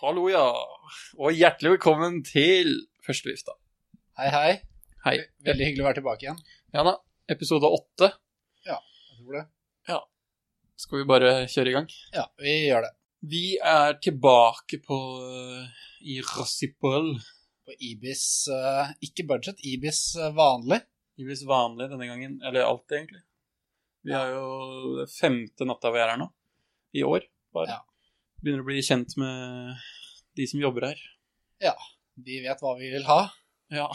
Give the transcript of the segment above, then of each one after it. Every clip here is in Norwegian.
Hallo, ja. Og hjertelig velkommen til Førstevifta. Hei, hei. Hei. Veldig hyggelig å være tilbake igjen. Ja da, episode åtte. Jeg tror det. Skal vi bare kjøre i gang? Ja, vi gjør det. Vi er tilbake på eh, i Rossipol. På Ibis eh, Ikke budget, Ibis eh, vanlig. Givetvis vanlig denne gangen, eller alltid egentlig. Vi er jo det er femte natta vi er her nå, i år bare. Ja. Begynner å bli kjent med de som jobber her. De vet hva vi vil ha, Ja,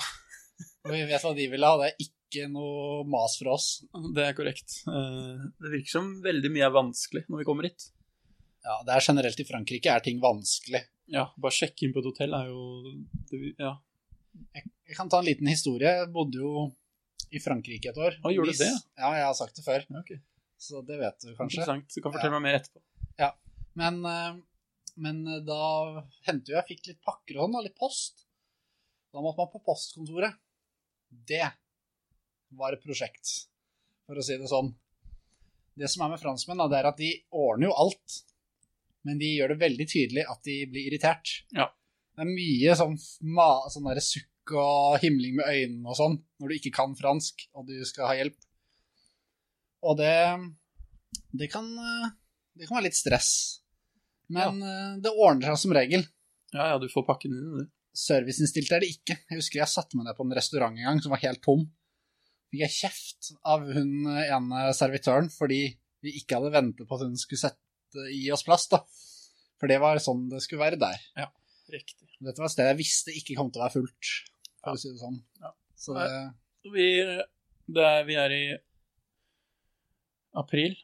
og vi vet hva de vil ha. Det er ikke noe mas fra oss. det er korrekt. Eh, Det virker som veldig mye er vanskelig når vi kommer hit. Ja, det er generelt i Frankrike er ting vanskelig. Ja, bare sjekke inn på et hotell er jo det, Ja. Jeg kan ta en liten historie. Jeg bodde jo i Frankrike et år. Å, gjorde du Nice. det? Ja, jeg har sagt det før, ja, ok. så det vet du kanskje. Interessant. Du kan fortelle meg mer etterpå. Men, eh, men da hendte jo jeg fikk litt pakker og sånn, da, litt post. Da måtte man på postkontoret. Det var et prosjekt, for å si det sånn. Det som er med franskmenn, da, det er at de ordner jo alt. Men de gjør det veldig tydelig at de blir irritert. Ja. Det er mye sånn, ma sånn der sukk og himling med øynene og sånn, når du ikke kan fransk og du skal ha hjelp. Og det, det, kan, eh, det kan være litt stress. Men eh, det ordner seg som regel. Ja, ja, du får pakken din, du. Serviceinnstilt er det ikke. Jeg husker jeg satte meg ned på en restaurant en gang som var helt tom. Fikk jeg kjeft av hun eh, ene servitøren fordi vi ikke hadde ventet på at hun skulle sette, gi oss plass, da. For det var sånn det skulle være der. Riktig. Dette var et sted jeg visste ikke kom til å være fullt, for å si det sånn. Ja. Så det, Vi, det er, vi er i april,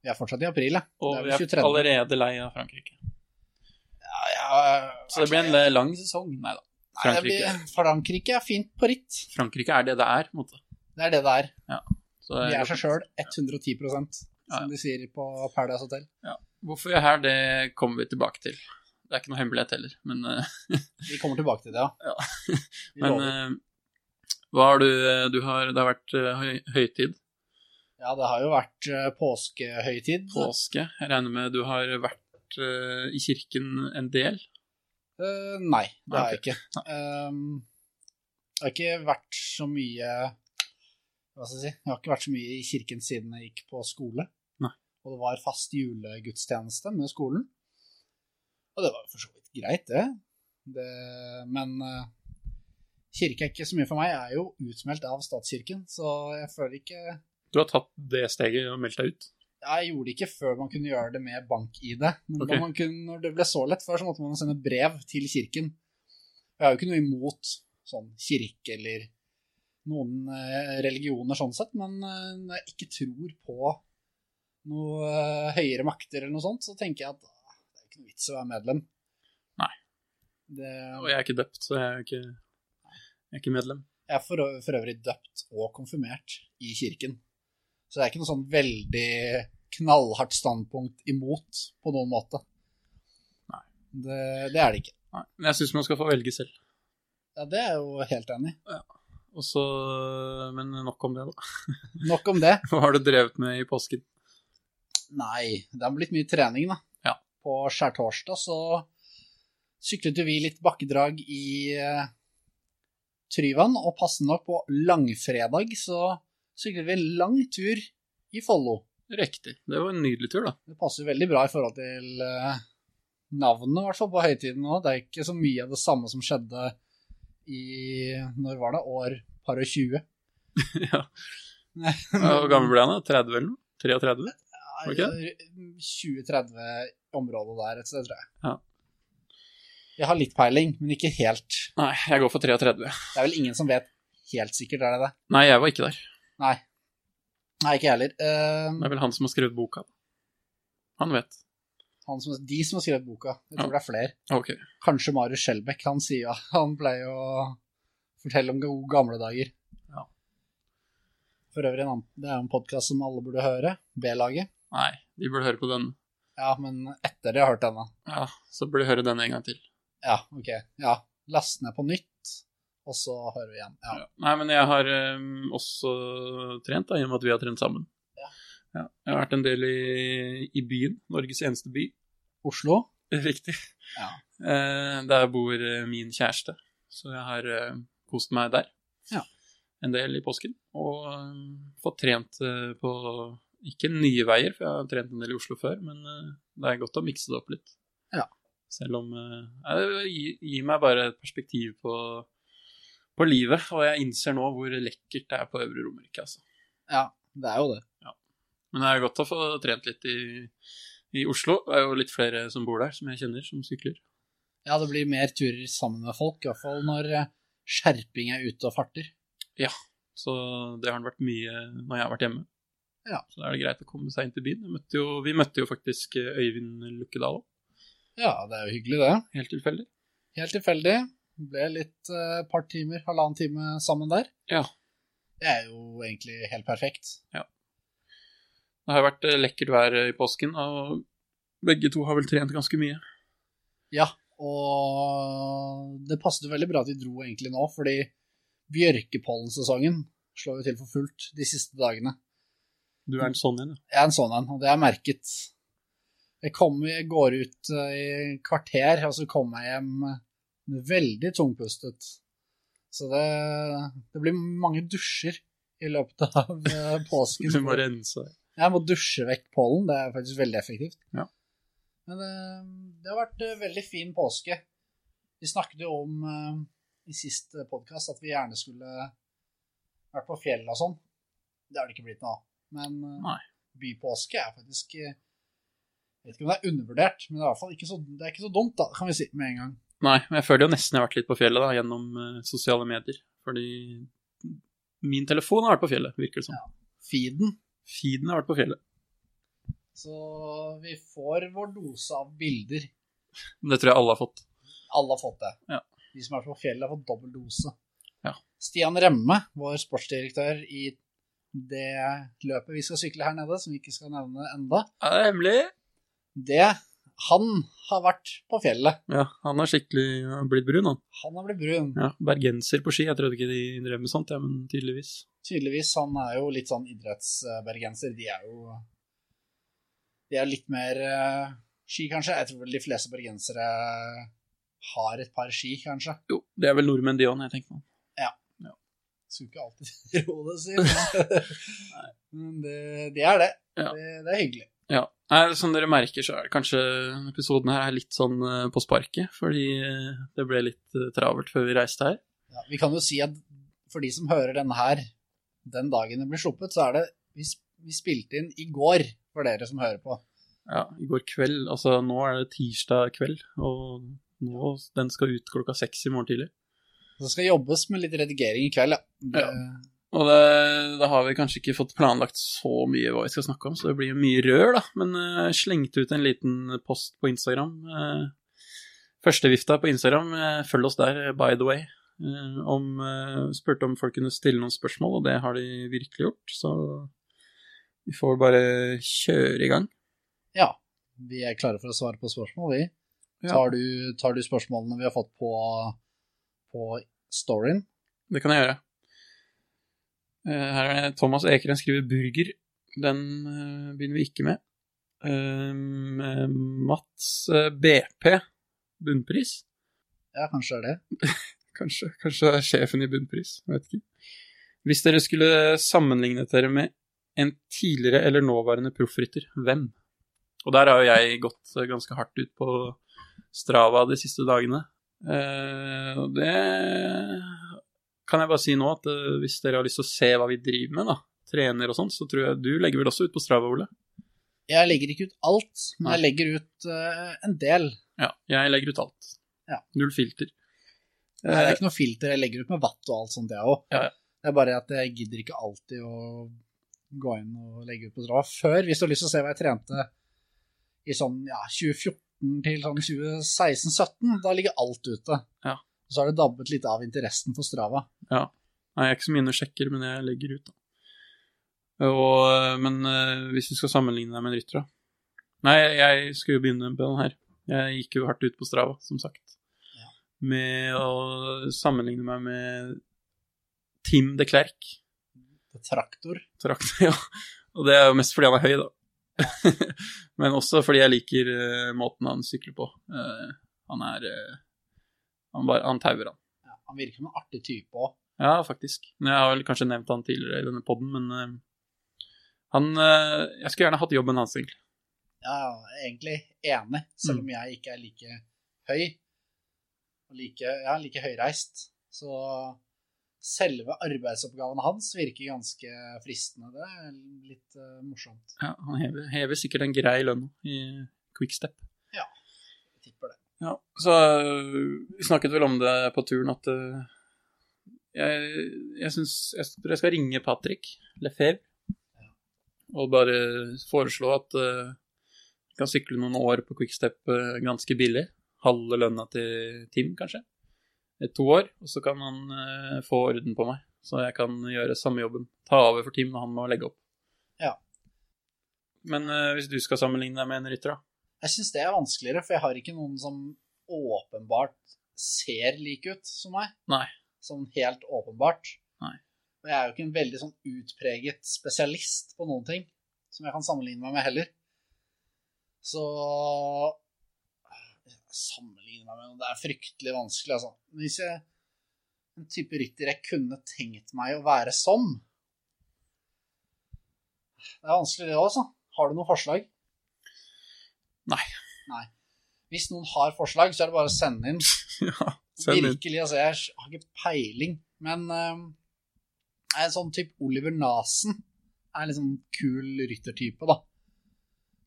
vi er fortsatt i april, ja. og Det er vi vel er 23.. allerede lei av Frankrike. Så det blir en eh, lang sesong. Nei da. Nei, det Frankrike, blir- Frankrike er fint på ritt. Frankrike er det det er, på en måte. Det er det det er. Så De er seg sjøl 110 Ja, ja. som de sier på Paradise Hotel. Hvorfor vi er her, det kommer vi tilbake til. Det er ikke noe hemmelighet heller, men, eh, Vi kommer tilbake til det, Ja. Vi men lover. eh, hva har du, du har, Det har vært eh, høy, høytid, ja, det har jo vært eh, påskehøytid. påske. Jeg regner med du har vært eh, i kirken en del? Eh, nei, det Nei, har jeg ikke. Ehm, jeg har ikke vært så mye Hva skal jeg si? Jeg har ikke vært så mye i kirken siden jeg gikk på skole. Nei. Og det var fast julegudstjeneste med skolen. Og det var jo for så vidt greit, det. det men eh, kirke er ikke så mye for meg. Jeg er jo utmeldt av statskirken, så jeg føler ikke Du har tatt det steget og meldt deg ut? Ja, jeg gjorde det ikke før man kunne gjøre det med bank-ID. Men Ok. da man kunne, når det ble så lett før, så måtte man sende brev til kirken. Jeg har jo ikke noe imot sånn kirke eller noen eh, religioner sånn sett, men eh, når jeg ikke tror på noe eh, høyere makter eller noe sånt, så tenker jeg at ah, det er ikke noe vits å være medlem. Nei. Det, Og jeg er ikke døpt, så jeg er ikke, jeg er ikke medlem. jeg er for, ø- for øvrig døpt og konfirmert i kirken. Så det er ikke noe sånn veldig knallhardt standpunkt imot på noen måte. Nei. Det, det er det ikke. Nei. Men jeg syns man skal få velge selv. Ja, det er jeg jo helt enig i. Og så- men nok om det, da. Nok om det. Hva har du drevet med i påsken? Nei, det har blitt mye trening, da. Ja. På skjærtorsdag så syklet jo vi litt bakkedrag i eh, Tryvann, og passende nok på langfredag så syklet vi en lang tur i Follo. Riktig. Det var en nydelig tur, da. Det passer jo veldig bra i forhold til eh, navnet, i hvert fall på høytiden nå. Det er ikke så mye av det samme som skjedde i Når var det? År par og 20? Ja. Hvor gammel ble han? da? 30 eller noe? 33? var det 20-30-området der et sted, tror jeg. Ja. Jeg har litt peiling, men ikke helt. Nei, jeg går for 33. Det er vel ingen som vet helt sikkert, er det det? Nei, jeg var ikke der. Nei, ikke jeg heller. Eh, Det er vel han som har skrevet boka. Han vet. han som, de som har skrevet boka. Jeg tror det er flere. Ok. Kanskje Marius Skjelbæk. Han sier ja. Han pleier jo å fortelle om gode gamle dager. Ja. For øvrig, en annen- det er jo en podkast som alle burde høre. B-laget. Nei, de burde høre på denne. Ja, men etter de har hørt denne. Ja, så burde de høre denne en gang til. Ja, ok. Ja. Last ned på nytt, og så hører vi igjen. Ja. Ja. Nei, men jeg har eh, også trent, da, i og med at vi har trent sammen. Ja. Jeg har vært en del i, i byen, Norges eneste by. Oslo? Riktig. Ja. Eh, der bor eh, min kjæreste, så jeg har eh, kost meg der Ja. en del i påsken. Og eh, fått trent eh, på ikke nye veier, for jeg har trent en del i Oslo før, men eh, det er godt å mikse det opp litt. Ja. Selv om eh, ja, Det gir, gir meg bare et perspektiv på, på livet, og jeg innser nå hvor lekkert det er på Øvre Romerike, altså. Ja, det er jo det. Men det er jo godt å få trent litt i, i Oslo. Det er jo litt flere som bor der, som jeg kjenner, som sykler. Ja, det blir mer turer sammen med folk, i hvert fall når eh, skjerping er ute og farter. Så det har vært mye når jeg har vært hjemme. Ja. Så da er det greit å komme seg inn til byen. Jeg møtte jo, vi møtte jo faktisk eh, Øyvind Lukkedal òg, Ja, det er jo hyggelig det. helt tilfeldig. Helt tilfeldig. Ble litt eh, par timer, halvannen time sammen der. Ja. Det er jo egentlig helt perfekt. Det har jo vært eh, lekkert vær i påsken, og begge to har vel trent ganske mye. Ja, og det passet jo veldig bra at vi dro egentlig nå, fordi bjørkepollensesongen slår jo til for fullt de siste dagene. Du er en sånn en, ja. Jeg er en sånn en, og det er merket. Jeg, kommer, jeg går ut eh, i kvarter, og så kommer jeg hjem eh, veldig tungpustet. Så det, det blir mange dusjer i løpet av eh, påsken. Du må rense deg. Jeg må dusje vekk pollen, det er faktisk veldig effektivt. Ja. Men eh, det har vært eh, veldig fin påske. Vi snakket jo om eh, i sist podkast at vi gjerne skulle vært på fjellet og sånn. Det har det ikke blitt noe av. Men eh, Nei. bypåske er faktisk eh, Jeg vet ikke om det er undervurdert, men det er i hvert fall ikke så, det er ikke så dumt, da, kan vi si med en gang. Nei, men jeg føler jo nesten jeg har vært litt på fjellet da, gjennom eh, sosiale medier. Fordi min telefon har vært på fjellet, virker det som. Feeden. Feeden har vært på fjellet. Så vi får vår dose av bilder. Men Det tror jeg alle har fått. Alle har fått det. Ja. De som er på fjellet, har fått dobbel dose. Ja. Stian Remme, vår sportsdirektør i det løpet vi skal sykle her nede, som vi ikke skal nevne enda, Er det hemmelig? det Han har vært på fjellet. Ja, han har skikkelig han har blitt brun, han. Han har blitt brun. Ja, bergenser på ski. Jeg trodde ikke de drev med sånt, ja, men tydeligvis. Tydeligvis. Han er jo litt sånn idrettsbergenser. De er jo De er litt mer eh, ski, kanskje. Jeg tror vel de fleste bergensere har et par ski, kanskje. Jo, det er vel nordmenn de òg, når jeg tenker meg om. Skulle ikke alltid tro det, sier jeg. Men det, det er det. Ja. det. Det er hyggelig. Ja. Nei, som dere merker, så er det kanskje episoden her er litt sånn eh, på sparket, fordi eh, det ble litt eh, travelt før vi reiste her. Ja, vi kan jo si at for de som hører denne her, den dagen den blir sluppet, så er det Vi, sp- vi spilte inn i går, for dere som hører på. Ja, i går kveld. Altså, nå er det tirsdag kveld, og nå, den skal ut klokka seks i morgen tidlig. Så det skal jobbes med litt redigering i kveld, ja. Det, Og det, da har vi kanskje ikke fått planlagt så mye hva vi skal snakke om, så det blir mye rør, da. Men eh, slengte ut en liten post på Instagram. eh, Førstevifta på Instagram, eh, følg oss der, eh, by the way. eh, om, eh, spurte om folk kunne stille noen spørsmål, og det har de virkelig gjort. Så vi får bare kjøre i gang. Vi er klare for å svare på spørsmål, vi. Ja. Tar, du, tar du spørsmålene vi har fått på, på storyen? Det kan jeg gjøre. Eh, Her er det Thomas Ekeren skriver 'burger'. Den eh, begynner vi ikke med. Um, eh, Mats eh, BP, bunnpris? Ja, kanskje det er det. Kanskje, kanskje det er sjefen i bunnpris, jeg vet ikke. Hvis dere skulle sammenlignet dere med en tidligere eller nåværende proffrytter, hvem? Og der har jo jeg gått eh, ganske hardt ut på Strava de siste dagene. Eh, Og det kan jeg bare si nå, at eh, hvis dere har lyst til å se hva vi driver med, da, trener og sånt, så tror jeg du legger vel også ut på Strava, Ole? Jeg legger ikke ut alt, men Nei. jeg legger ut eh, en del. Ja, jeg legger ut alt. Ja. Null filter. Nei, det Eh, er ikke noe filter jeg legger ut med vatt og alt sånt, jeg òg. Ja, ja. Det er bare at jeg gidder ikke alltid å gå inn og legge ut på Strava før, hvis du har lyst til å se hva jeg trente i sånn ja, 2014 til sånn 2016-17. Da ligger alt ute. Ja. Så har det dabbet litt av interessen for Strava. Nei, jeg er ikke så mye inne og sjekker, men jeg legger ut, da. Og, men eh, hvis du skal sammenligne deg med en rytter, da Nei, jeg skulle jo begynne med den her. Jeg gikk jo hardt ut på Strava, som sagt. Ja. Med å sammenligne meg med Tim de Klerk. Det er traktor. Traktor, ja. Og det er jo mest fordi han er høy, da. Men også fordi jeg liker eh, måten han sykler på. Eh, han er eh, han, bare, han tauer han. Ja, han virker som en artig type òg. Ja, faktisk. Men Jeg har vel kanskje nevnt han tidligere i denne podden, men eh, han eh, Jeg skulle gjerne hatt jobben hans, egentlig. Ja, jeg er egentlig enig, selv om jeg ikke er like høy. Og like, ja, like høyreist. Så selve arbeidsoppgaven hans virker ganske fristende. Det er litt eh, morsomt. Ja, han hever, hever sikkert en grei lønn i quickstep. Jeg tipper det. Ja, så øh, vi snakket vel om det på turen at øh, jeg, jeg syns jeg tror jeg skal ringe Patrick Lefebvre og bare foreslå at øh, jeg kan sykle noen år på quickstep øh, ganske billig. Halve lønna til Tim, kanskje. Eh, To år. Og så kan han øh, få orden på meg, så jeg kan gjøre samme jobben. Ta over for Tim når han må legge opp. Ja. Men øh, hvis du skal sammenligne deg med en rytter, da? Jeg syns det er vanskeligere, for jeg har ikke noen som åpenbart ser lik ut som meg. Nei. Sånn helt åpenbart. Nei. Og jeg er jo ikke en veldig sånn utpreget spesialist på noen ting, som jeg kan sammenligne meg med heller. Så Sammenligne meg med noen Det er fryktelig vanskelig, altså. Men hvis jeg En type rytter jeg kunne tenkt meg å være som Det er vanskelig, det òg, altså. Har du noe forslag? Nei. Nei. Hvis noen har forslag, så er det bare å sende inn. ja, send inn. Virkelig, altså, jeg har ikke peiling. Men eh, en sånn type Oliver Nasen er en liksom kul ryttertype, da.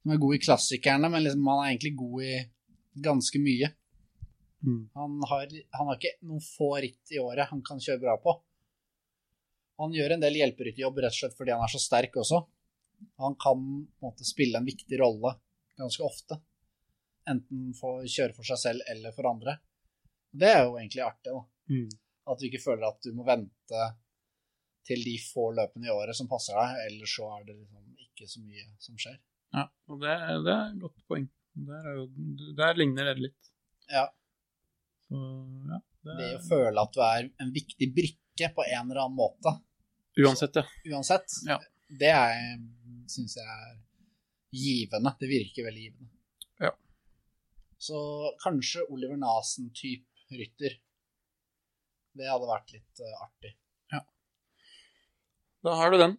Han er god i klassikerne, men liksom, han er egentlig god i ganske mye. Mm. Han har, han har ikke noen få ritt i året han kan kjøre bra på. Han gjør en del hjelperytterjobb rett og slett fordi han er så sterk også. Han kan på en måte spille en viktig rolle ganske ofte. Enten for, kjøre for seg selv eller for andre. Det er jo egentlig artig, da. Mm. At du ikke føler at du må vente til de få løpene i året som passer deg, ellers så er det liksom ikke så mye som skjer. Ja, og det, det er et godt poeng. Der, er jo, der ligner det litt. Ja. Så, ja. Det Det er, å føle at du er en viktig brikke på en eller annen måte, uansett, ja. uansett, Ja. det er- syns jeg er givende. Det virker veldig givende. Ja. Så kanskje Oliver Nasen-type rytter. Det hadde vært litt eh, artig. Da har du den.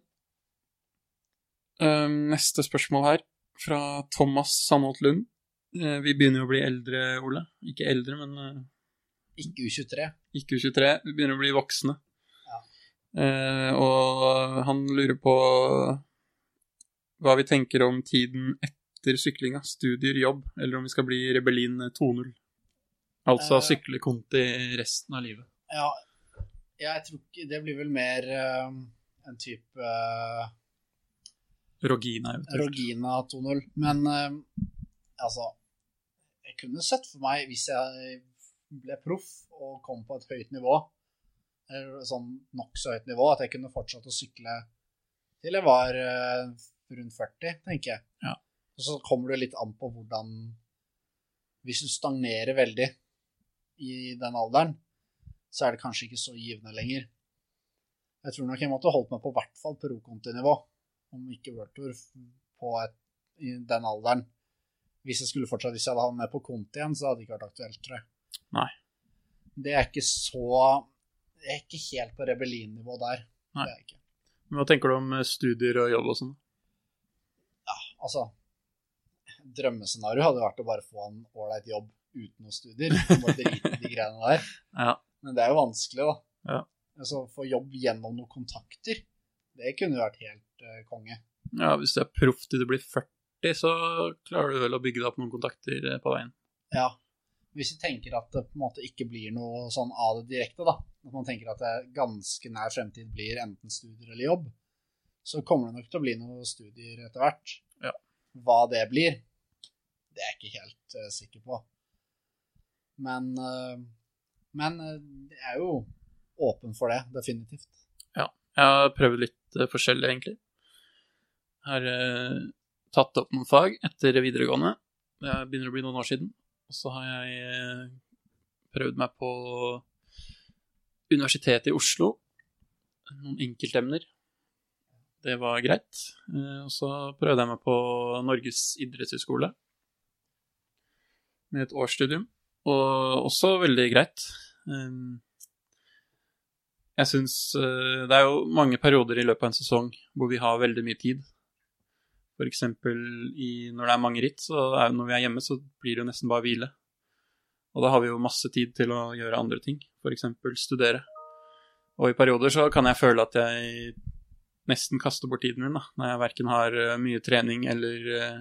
Ehm, neste spørsmål her, fra Thomas Sandholt Lund. Eh, vi begynner jo å bli eldre, Ole. Ikke eldre, men eh, Ikke U23. ikke 23. Vi begynner å bli voksne. Ja. Eh, og han lurer på hva vi tenker om tiden etter syklinga. Studier, jobb, eller om vi skal bli Rebellin 2.0. Altså Eh. sykle Conti resten av livet. Ja, jeg tror ikke Det blir vel mer eh, en type eh, Rogina, eventuelt. Rogina 2.0. Men eh, altså Jeg kunne sett for meg, hvis jeg ble proff og kom på et høyt nivå, eller sånn nokså høyt nivå, at jeg kunne fortsatt å sykle til jeg var eh, rundt 40, tenker jeg. Ja. Og så kommer det litt an på hvordan Hvis du stagnerer veldig i den alderen, så er det kanskje ikke så givende lenger. Jeg tror nok jeg måtte holdt meg på hvert fall pro nivå om ikke World Tour, på et, i den alderen. Hvis jeg skulle fortsatt, hvis jeg hadde havnet på konti igjen, så hadde det ikke vært aktuelt, tror jeg. Nei. Det er ikke så Jeg er ikke helt på rebellinnivå der. Nei. Det er jeg ikke. Men Hva tenker du om eh, studier og jobb og sånn? Altså, drømmescenario hadde vært å bare få en ålreit jobb uten noe studier. Du må drite i de greiene der. Ja. Men det er jo vanskelig, da. Ja. Altså, få jobb gjennom noen kontakter, det kunne jo vært helt eh, konge. Ja, hvis du er proff til du blir 40, så klarer du vel å bygge deg opp noen kontakter eh, på veien. Ja. Hvis vi tenker at det på en måte ikke blir noe sånn av det direkte, da. At man tenker at det ganske nær fremtid blir enten studier eller jobb, så kommer det nok til å bli noen studier etter hvert. Ja. Hva det blir, det er jeg ikke helt eh, sikker på. Men, eh, men eh, jeg er jo åpen for det, definitivt. Jeg har prøvd litt eh, forskjellig, egentlig. Jeg har eh, tatt opp noen fag etter videregående. Det begynner å bli noen år siden. Og så har jeg eh, prøvd meg på Universitetet i Oslo. Noen enkeltemner. Det var greit. Eh, Og så prøvde jeg meg på Norges idrettshøyskole med et årsstudium, og også veldig greit. Eh, Jeg syns eh, Det er jo mange perioder i løpet av en sesong hvor vi har veldig mye tid. For eksempel i, når det er mange ritt, så er, når vi er hjemme, så blir det jo nesten bare hvile. Og da har vi jo masse tid til å gjøre andre ting, f.eks. studere. Og i perioder så kan jeg føle at jeg nesten kaster bort tiden min, da. Når jeg verken har eh, mye trening eller eh,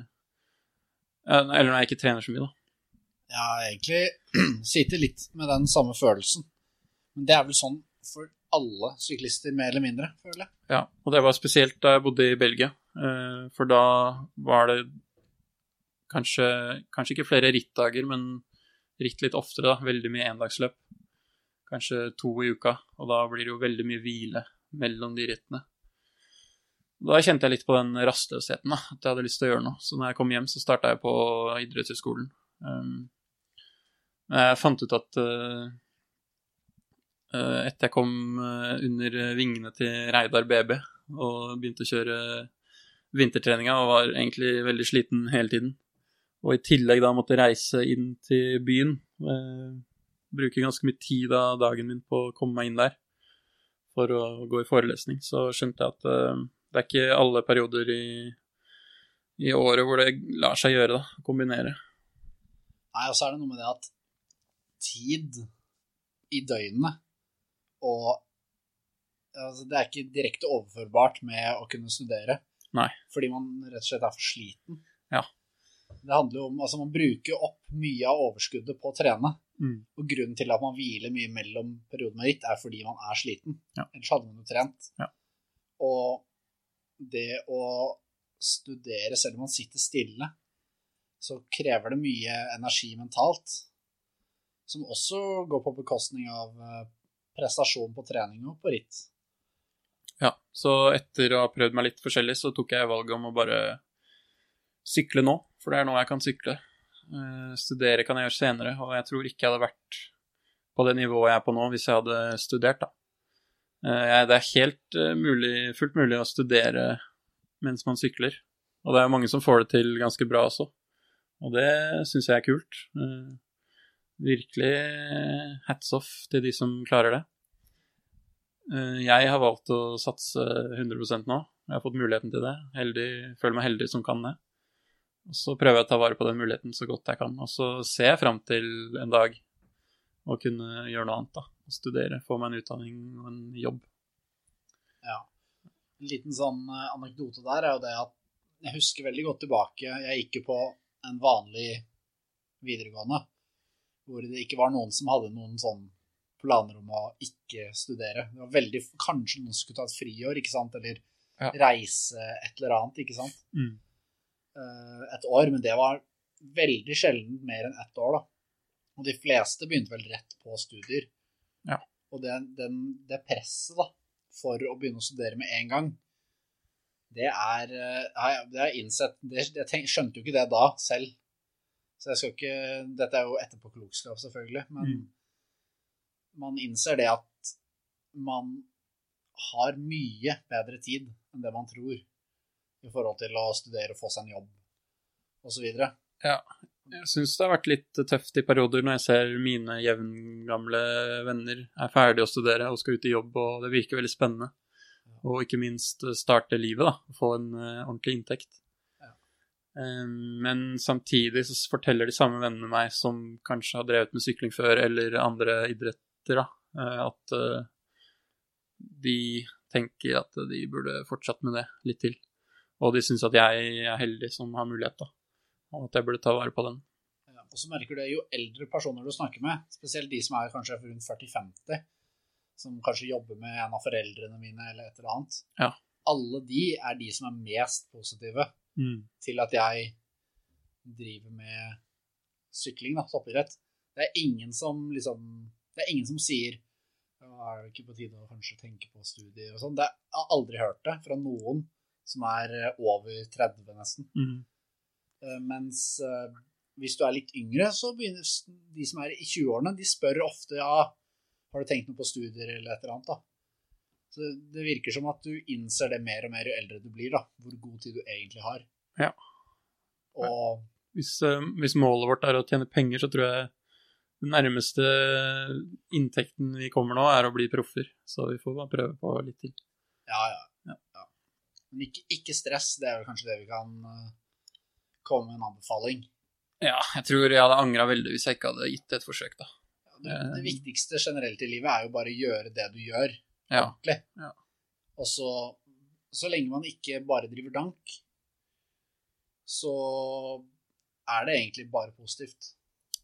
ja, Eller når jeg ikke trener så mye, da. Jeg har egentlig sitter litt med den samme følelsen. Men det er vel sånn for alle syklister, mer eller mindre, føler jeg. Ja, og det var spesielt da jeg bodde i Belgia, eh, for da var det kanskje, kanskje ikke flere rittdager, men ritt litt oftere, da. Veldig mye endagsløp. Kanskje to i uka, og da blir det jo veldig mye hvile mellom de rittene. Da kjente jeg litt på den rastløsheten, da, at jeg hadde lyst til å gjøre noe. Så når jeg kom hjem, så starta jeg på idrettshøyskolen. Um, men jeg fant ut at eh, Eh, etter jeg kom eh, under vingene til Reidar BB og begynte å kjøre vintertreninga og var egentlig veldig sliten hele tiden. Og i tillegg da måtte reise inn til byen. Eh, bruke ganske mye tid av dagen min på å komme meg inn der for å gå i forelesning. Så skjønte jeg at eh, det er ikke alle perioder i, i året hvor det lar seg gjøre, da. Kombinere. Nei, og så er det noe med det at tid i døgnet og altså, Det er ikke direkte overførbart med å kunne studere. Nei. Fordi man rett og slett er for sliten. Ja. Det handler jo om Altså, man bruker opp mye av overskuddet på å trene. Mm. Og grunnen til at man hviler mye mellom perioden med ritt, er fordi man er sliten. Ja. Ellers hadde man jo trent. Ja. Og det å studere, selv om man sitter stille, så krever det mye energi mentalt. Som også går på bekostning av eh, prestasjon på trening og på ritt. Ja, så etter å ha prøvd meg litt forskjellig, så tok jeg valget om å bare sykle nå, for det er nå jeg kan sykle. Eh, studere kan jeg gjøre senere, og jeg tror ikke jeg hadde vært på det nivået jeg er på nå hvis jeg hadde studert, da. Eh, jeg- det er helt eh, mulig, fullt mulig å studere mens man sykler, og det er jo mange som får det til ganske bra også, og det syns jeg er kult. Eh, virkelig eh, hats off til de som klarer det. Eh, Jeg har valgt å satse 100 nå. Jeg har fått muligheten til det. Heldig, føler meg heldig som kan det. Og så prøver jeg å ta vare på den muligheten så godt jeg kan. Og så ser jeg fram til en dag å kunne gjøre noe annet, da. Studere, få meg en utdanning og en jobb. En liten sånn eh, anekdote der er jo det at jeg husker veldig godt tilbake. Jeg gikk jo på en vanlig videregående hvor det ikke var noen som hadde noen sånn planer om å ikke studere. Det var veldig, Kanskje noen skulle ta et friår, ikke sant, eller Ja. reise et eller annet, ikke sant. Mm. Eh, Et år, men det var veldig sjelden mer enn ett år, da. Og de fleste begynte vel rett på studier. Ja. Og det, den, det presset, da, for å begynne å studere med en gang, det er eh, har jeg- Det har jeg innsett det, Jeg tenk, skjønte jo ikke det da selv. Så jeg skal ikke Dette er jo etterpåklokskap, selvfølgelig, men Mm. man innser det at man har mye bedre tid enn det man tror i forhold til å studere og få seg en jobb osv. Jeg syns det har vært litt tøft i perioder når jeg ser mine jevngamle venner er ferdige å studere og skal ut i jobb, og det virker veldig spennende. Og ikke minst eh, starte livet, da. Få en eh, ordentlig inntekt. Ja. Eh, men samtidig så s- forteller de samme vennene meg, som kanskje har drevet med sykling før, eller andre idretter, da, eh, at eh, de tenker at de burde fortsatt med det litt til. Og de syns at jeg er heldig som har mulighet, da. Og at jeg burde ta vare på den. Og så merker du det, jo eldre personer du snakker med, spesielt de som er kanskje rundt 40-50, som kanskje jobber med en av foreldrene mine eller et eller annet, Ja. alle de er de som er mest positive Mm, til at jeg driver med sykling, da, toppidrett. Det er ingen som liksom Det er ingen som sier «Ja, er det ikke på tide å kanskje tenke på studier og sånn. Det- Jeg har aldri hørt det fra noen som er eh, over 30 nesten. Mm. Eh, Mens eh, hvis du er litt yngre, så begynner s- de som er i 20-årene, de spør ofte ja, har du tenkt noe på studier eller et eller annet. da. Så det- det virker som at du innser det mer og mer jo eldre du blir, da, hvor god tid du egentlig har. Ja. Og Hvis, eh, hvis målet vårt er å tjene penger, så tror jeg den nærmeste inntekten vi kommer nå, er å bli proffer. Så vi får bare prøve på litt til. ja, ja. ja. Men ikke, ikke stress, det er vel kanskje det vi kan eh, komme med en anbefaling. Ja, jeg tror jeg hadde angra veldig hvis jeg ikke hadde gitt det et forsøk, da. Det, Eh. det viktigste generelt i livet er jo bare å gjøre det du gjør. Ja. Og så, så lenge man ikke bare driver dank, så er det egentlig bare positivt.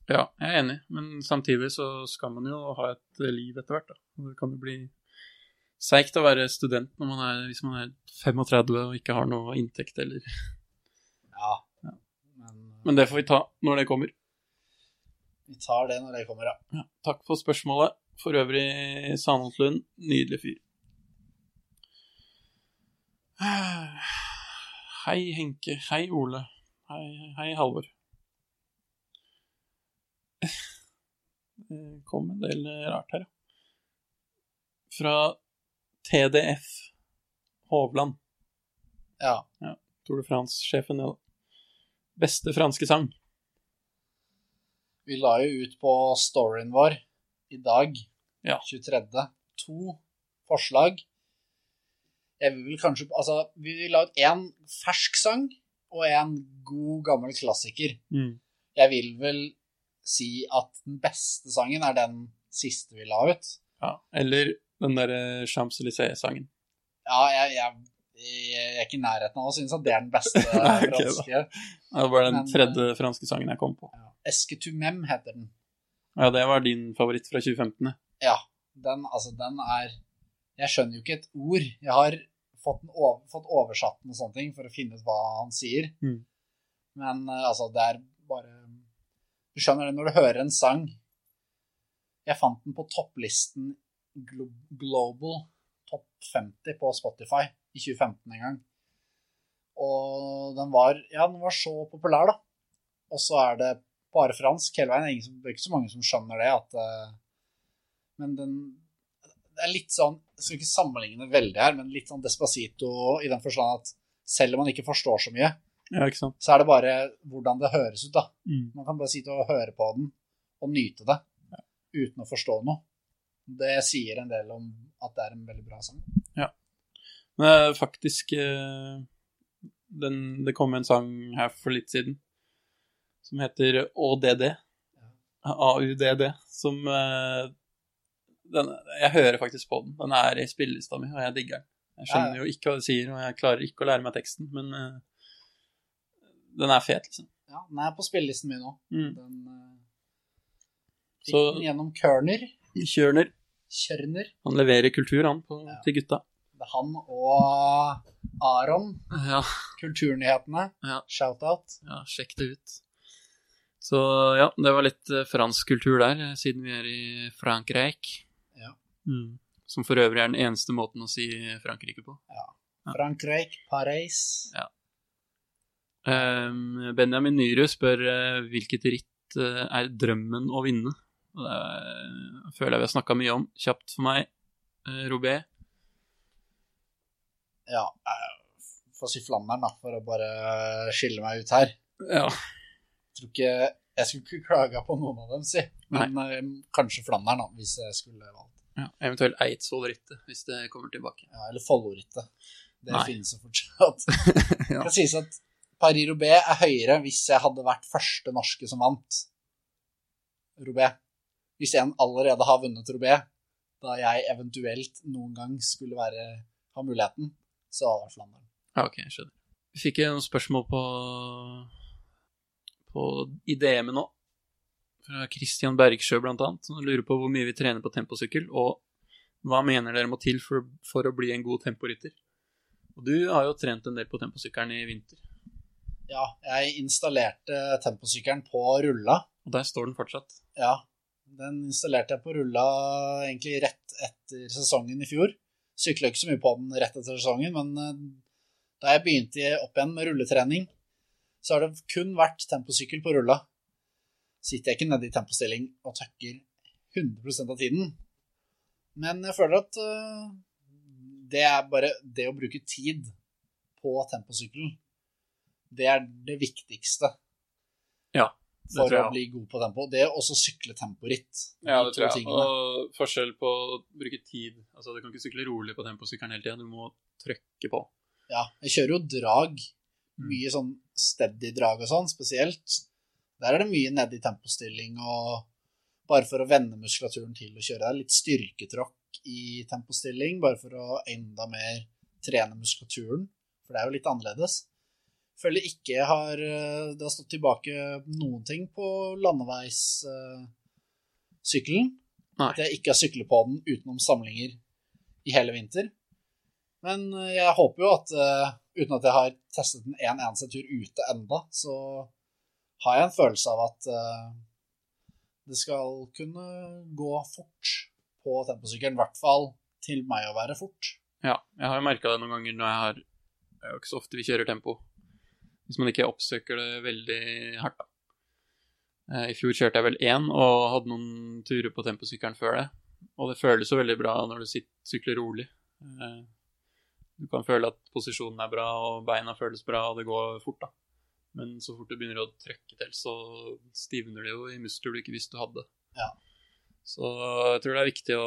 ja, jeg er enig, men samtidig så skal man jo ha et liv etter hvert, da. Og Det kan jo bli seigt å være student når man er, hvis man er 35 og ikke har noe inntekt eller Ja. Men, eh, Men det får vi ta når det kommer. vi tar det når det kommer, ja. Ja, takk for spørsmålet. For øvrig, Sanholt Lund, nydelig fyr. Hei, Henke. Hei, Ole. Hei, hei Halvor. Det kom en del rart her, ja. Fra TDF Hovland, ja. Tour de France-sjefen. ja. Beste franske sang. Vi la jo ut på storyen vår i dag, Ja. 23., to forslag. Jeg vil vel kanskje Altså, vi la ut én fersk sang og én god, gammel klassiker. Jeg vil vel si at den beste sangen er den siste vi la ut. Ja. Eller den derre Champs-Élysées-sangen. Ja, jeg, jeg, jeg er ikke i nærheten av å synes at det er den beste Nei, ok, da. franske. Ja, Det var den Men, tredje franske sangen jeg kom på. Esketumem heter den. Ja, det var din favoritt fra 2015. ja. Ja, den, altså, den er Jeg skjønner jo ikke et ord. Jeg har fått, den over, fått oversatt den og sånne ting for å finne ut hva han sier. Mm. Men eh, altså, det er bare Du skjønner det når du hører en sang. Jeg fant den på topplisten Glo Global Topp 50 på Spotify i 2015 en gang. Og den var Ja, den var så populær, da. Og så er det bare fransk hele veien. Det er ingen som- Det er ikke så mange som skjønner det at eh, men den det er litt sånn Jeg skal ikke sammenligne veldig her, men litt sånn despacito i den forstand at selv om man ikke forstår så mye, Ja, ikke sant? så er det bare hvordan det høres ut, da. Mm. Man kan bare sitte og høre på den og nyte det uten å forstå noe. Det sier en del om at det er en veldig bra sang. Men det er faktisk eh, den, Det kom en sang her for litt siden som heter AUDD. AUDD. Som eh, den, Jeg hører faktisk på den. Den er i spillelista mi, og jeg digger den. Jeg Ja, skjønner jo ikke hva det sier, og jeg klarer ikke å lære meg teksten, men eh, den er fet, liksom. Ja, den er på spillelisten min nå. Mm. Den eh, fikk Så- den gjennom Kørner. Kjørner. Kjørner. Han leverer kultur, han, på, Ja. til gutta. Det er han og Aron. Ja, Kulturnyhetene. Ja. Shout-out. Ja, sjekk det ut. Så ja, det var litt eh, fransk kultur der, eh, siden vi er i Frankrike. Ja. Mm. Som for øvrig er den eneste måten å si Frankrike på. Ja. Frankrike, Paris. Ehm, Benjamin Nyrud spør eh, hvilket ritt eh, er drømmen å vinne. Og Det eh, føler jeg vi har snakka mye om. Kjapt for meg, eh, Robé. Ja, eh, få si flammeren, da, for å bare skille meg ut her. Ja. Jeg tror ikke Jeg skulle ikke klaga på noen av dem, si. Men eh, kanskje flammeren, da, hvis jeg skulle valgt. Eventuelt Eidsvoll-rittet, hvis det kommer tilbake. Ja, eller Follorittet. Det Nei. finnes jo fortsatt. Ja. Det kan sies at Paris Roubais er høyere hvis jeg hadde vært første norske som vant Roubais. Hvis en allerede har vunnet Roubais, da jeg eventuelt noen gang skulle være, ha muligheten, så hadde det vært flammeren. Ja, ok, jeg skjønner. Vi fikk noen spørsmål på, på i DM-en nå, fra Kristian Bergsjø blant annet, som lurer på hvor mye vi trener på temposykkel, og hva mener dere må til for, for å bli en god temporytter? Og du har jo trent en del på temposykkelen i vinter, Ja, jeg installerte temposykkelen på rulla. og der står den fortsatt. Ja, den installerte jeg på rulla egentlig rett etter sesongen i fjor. Sykla ikke så mye på den rett etter sesongen, men eh, da jeg begynte opp igjen med rulletrening, så har det kun vært temposykkel på rulla. Sitter jeg ikke nede i tempostilling og tøkker 100 av tiden. Men jeg føler at eh, det er bare det å bruke tid på temposykkelen. Det er det viktigste Det for tror å jeg. bli god på tempo. Det er også sykle temporitt. Ja, De det to tror jeg. tingene. Og forskjell på å bruke tid Altså, du kan ikke sykle rolig på temposykkelen hele tida, du må trykke på. Ja, jeg kjører jo drag. Mm. Mye sånn steady drag og sånn, spesielt. Der er det mye ned i tempostilling og bare for å vende muskulaturen til å kjøre. Det er litt styrketråkk i tempostilling, bare for å enda mer trene muskulaturen. For det er jo litt annerledes. Føler ikke jeg har eh, Det har stått tilbake noen ting på landeveissykkelen. Nei. At jeg ikke har syklet på den utenom samlinger i hele vinter. Men eh, jeg håper jo at eh, uten at jeg har testet den en eneste tur ute enda, så har jeg en følelse av at eh, det skal kunne gå fort på temposykkelen. I hvert fall til meg å være fort. Ja, jeg har jo merka det noen ganger når jeg har Det er jo ikke så ofte vi kjører tempo. Hvis man ikke oppsøker det veldig hardt, da. Eh, I fjor kjørte jeg vel én, og hadde noen turer på temposykkelen før det. Og det føles jo veldig bra når du sit- sykler rolig. Eh, Du kan føle at posisjonen er bra, og beina føles bra, og det går fort, da. Men så fort du begynner å trøkke til, så stivner det jo i muskler du ikke visste du hadde. Ja. Så jeg tror det er viktig å,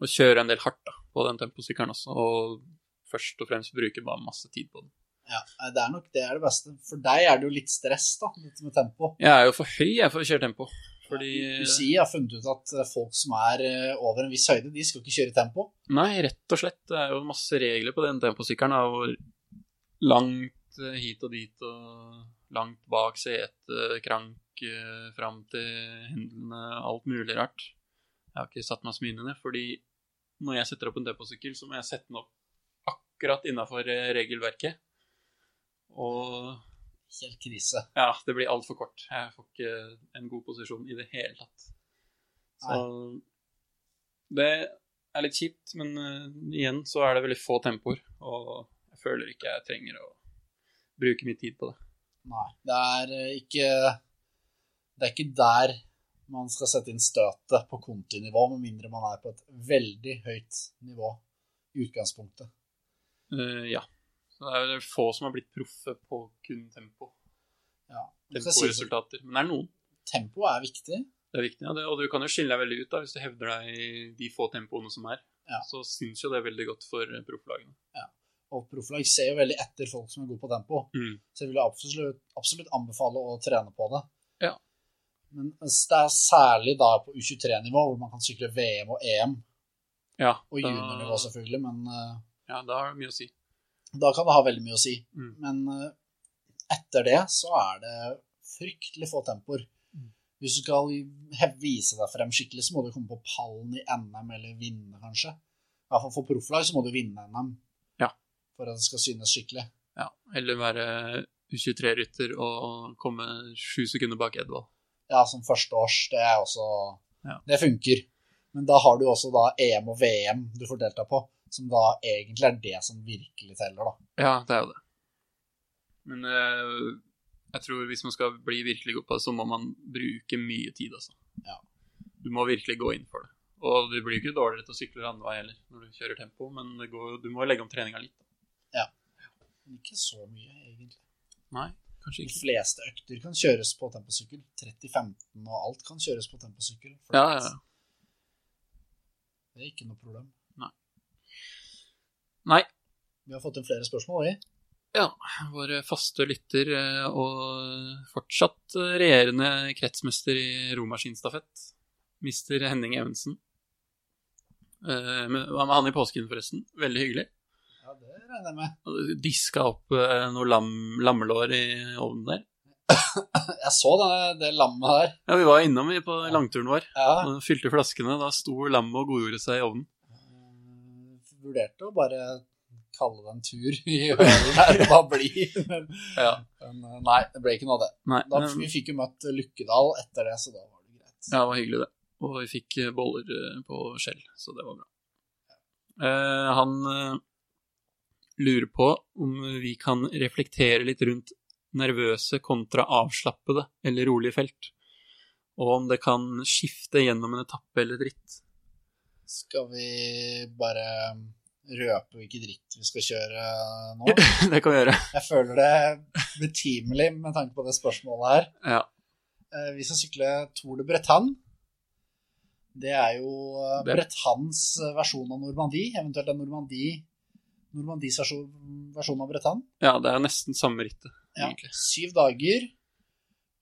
å kjøre en del hardt, da på den temposykkelen også, og først og fremst bruke bare masse tid på den. Ja, nei, det er nok det er det beste. For deg er det jo litt stress, da, dette med tempo. Jeg er jo for høy jeg for å kjøre tempo, fordi UCI har funnet ut at eh, folk som er eh, over en viss høyde, de skal ikke kjøre i tempo. Nei, rett og slett. Det er jo masse regler på den temposykkelen, da, hvor langt eh, hit og dit og langt bak sete, krank eh, fram til hendene, alt mulig rart. Jeg har ikke satt meg så mye inn i det, fordi når jeg setter opp en temposykkel, så må jeg sette den opp akkurat innafor regelverket. Og Helt krise. Ja, det blir altfor kort. Jeg får ikke en god posisjon i det hele tatt. Så det er litt kjipt, men eh, igjen så er det veldig få tempoer, og jeg føler ikke jeg trenger å bruke mye tid på det. Nei. Det er eh, ikke Det er ikke der man skal sette inn støtet på kontinivå, med mindre man er på et veldig høyt nivå i utgangspunktet. Eh, ja. Så det er vel få som har blitt proffe på kun tempo. Ja. Det skal sies at Temporesultater. Men det er noen. tempo er viktig. Det er viktig. Ja. Det, og du kan jo skille deg veldig ut da, hvis du hevder deg i de få tempoene som er. Ja. Så syns jo det veldig godt for eh, profflagene. Og profflag ser jo veldig etter folk som er gode på tempo. Mm. Så jeg vil absolutt, absolutt anbefale å trene på det. Ja. Men eh, det er særlig da på U23-nivå, hvor man kan sykle VM og EM, Ja, og da- juniornivå selvfølgelig, men eh, Ja, da har det mye å si. da kan det ha veldig mye å si. Mm. Men eh, etter det så er det fryktelig få tempoer. Mm. Hvis du skal hev- vise deg frem skikkelig, så må du komme på pallen i NM, eller vinne, kanskje. I hvert fall for profflag så må du vinne NM Ja. for at det skal synes skikkelig. Ja, eller være U23-rytter og komme sju sekunder bak Edvald. Ja, som førsteårs, det er også Ja. Det funker. Men da har du også da EM og VM du får delta på, som da egentlig er det som virkelig teller, da. Ja, det er jo det. Men eh, jeg tror hvis man skal bli virkelig god på det, så må man bruke mye tid, altså. Ja. Du må virkelig gå inn for det. Og du blir jo ikke dårligere til å sykle landevei heller når du kjører tempo, men det går, du må jo legge om treninga litt. Men ikke så mye, egentlig. Nei, kanskje De ikke. fleste økter kan kjøres på temposykkel. 30-15 og alt kan kjøres på temposykkel. for Ja, ja, ja. Det er ikke noe problem. Nei, Vi har fått inn flere spørsmål, vi. våre faste lytter eh, og fortsatt eh, regjerende kretsmester i romaskinstafett, mister Henning Evensen. Eh, men Hva med han i påsken, forresten? Veldig hyggelig. Ja, det regner jeg med. Diska opp eh, noe lam, lammelår i ovnen der. Jeg så denne, det lammet her. Ja, vi var innom vi på langturen vår Ja. og fylte flaskene. Da sto lammet og godgjorde seg i ovnen. Eh, Vurderte å bare kalle det en tur i hølen her og bare bli. Men, Ja. men eh, nei, det ble ikke noe av det. Nei, Da, men- vi fikk jo møtt Lykkedal etter det, så da var det greit. Ja, det var hyggelig, det. Og vi fikk eh, boller eh, på skjell, så det var bra. Eh, han eh, lurer på om vi kan reflektere litt rundt nervøse kontra avslappede eller rolige felt, og om det kan skifte gjennom en etappe eller et ritt. Skal vi bare røpe hvilken dritt vi skal kjøre nå. Det kan vi gjøre. Jeg føler det betimelig med tanke på det spørsmålet her. Ja. Eh, Vi skal sykle Tour de Bretagne. Det er jo eh, Det- Bretagnes eh, versjon av Normandie, eventuelt en Normandie, Normandies versjon, versjon av Bretagne. Ja, det er nesten samme rittet. Ja. Egentlig. Syv dager.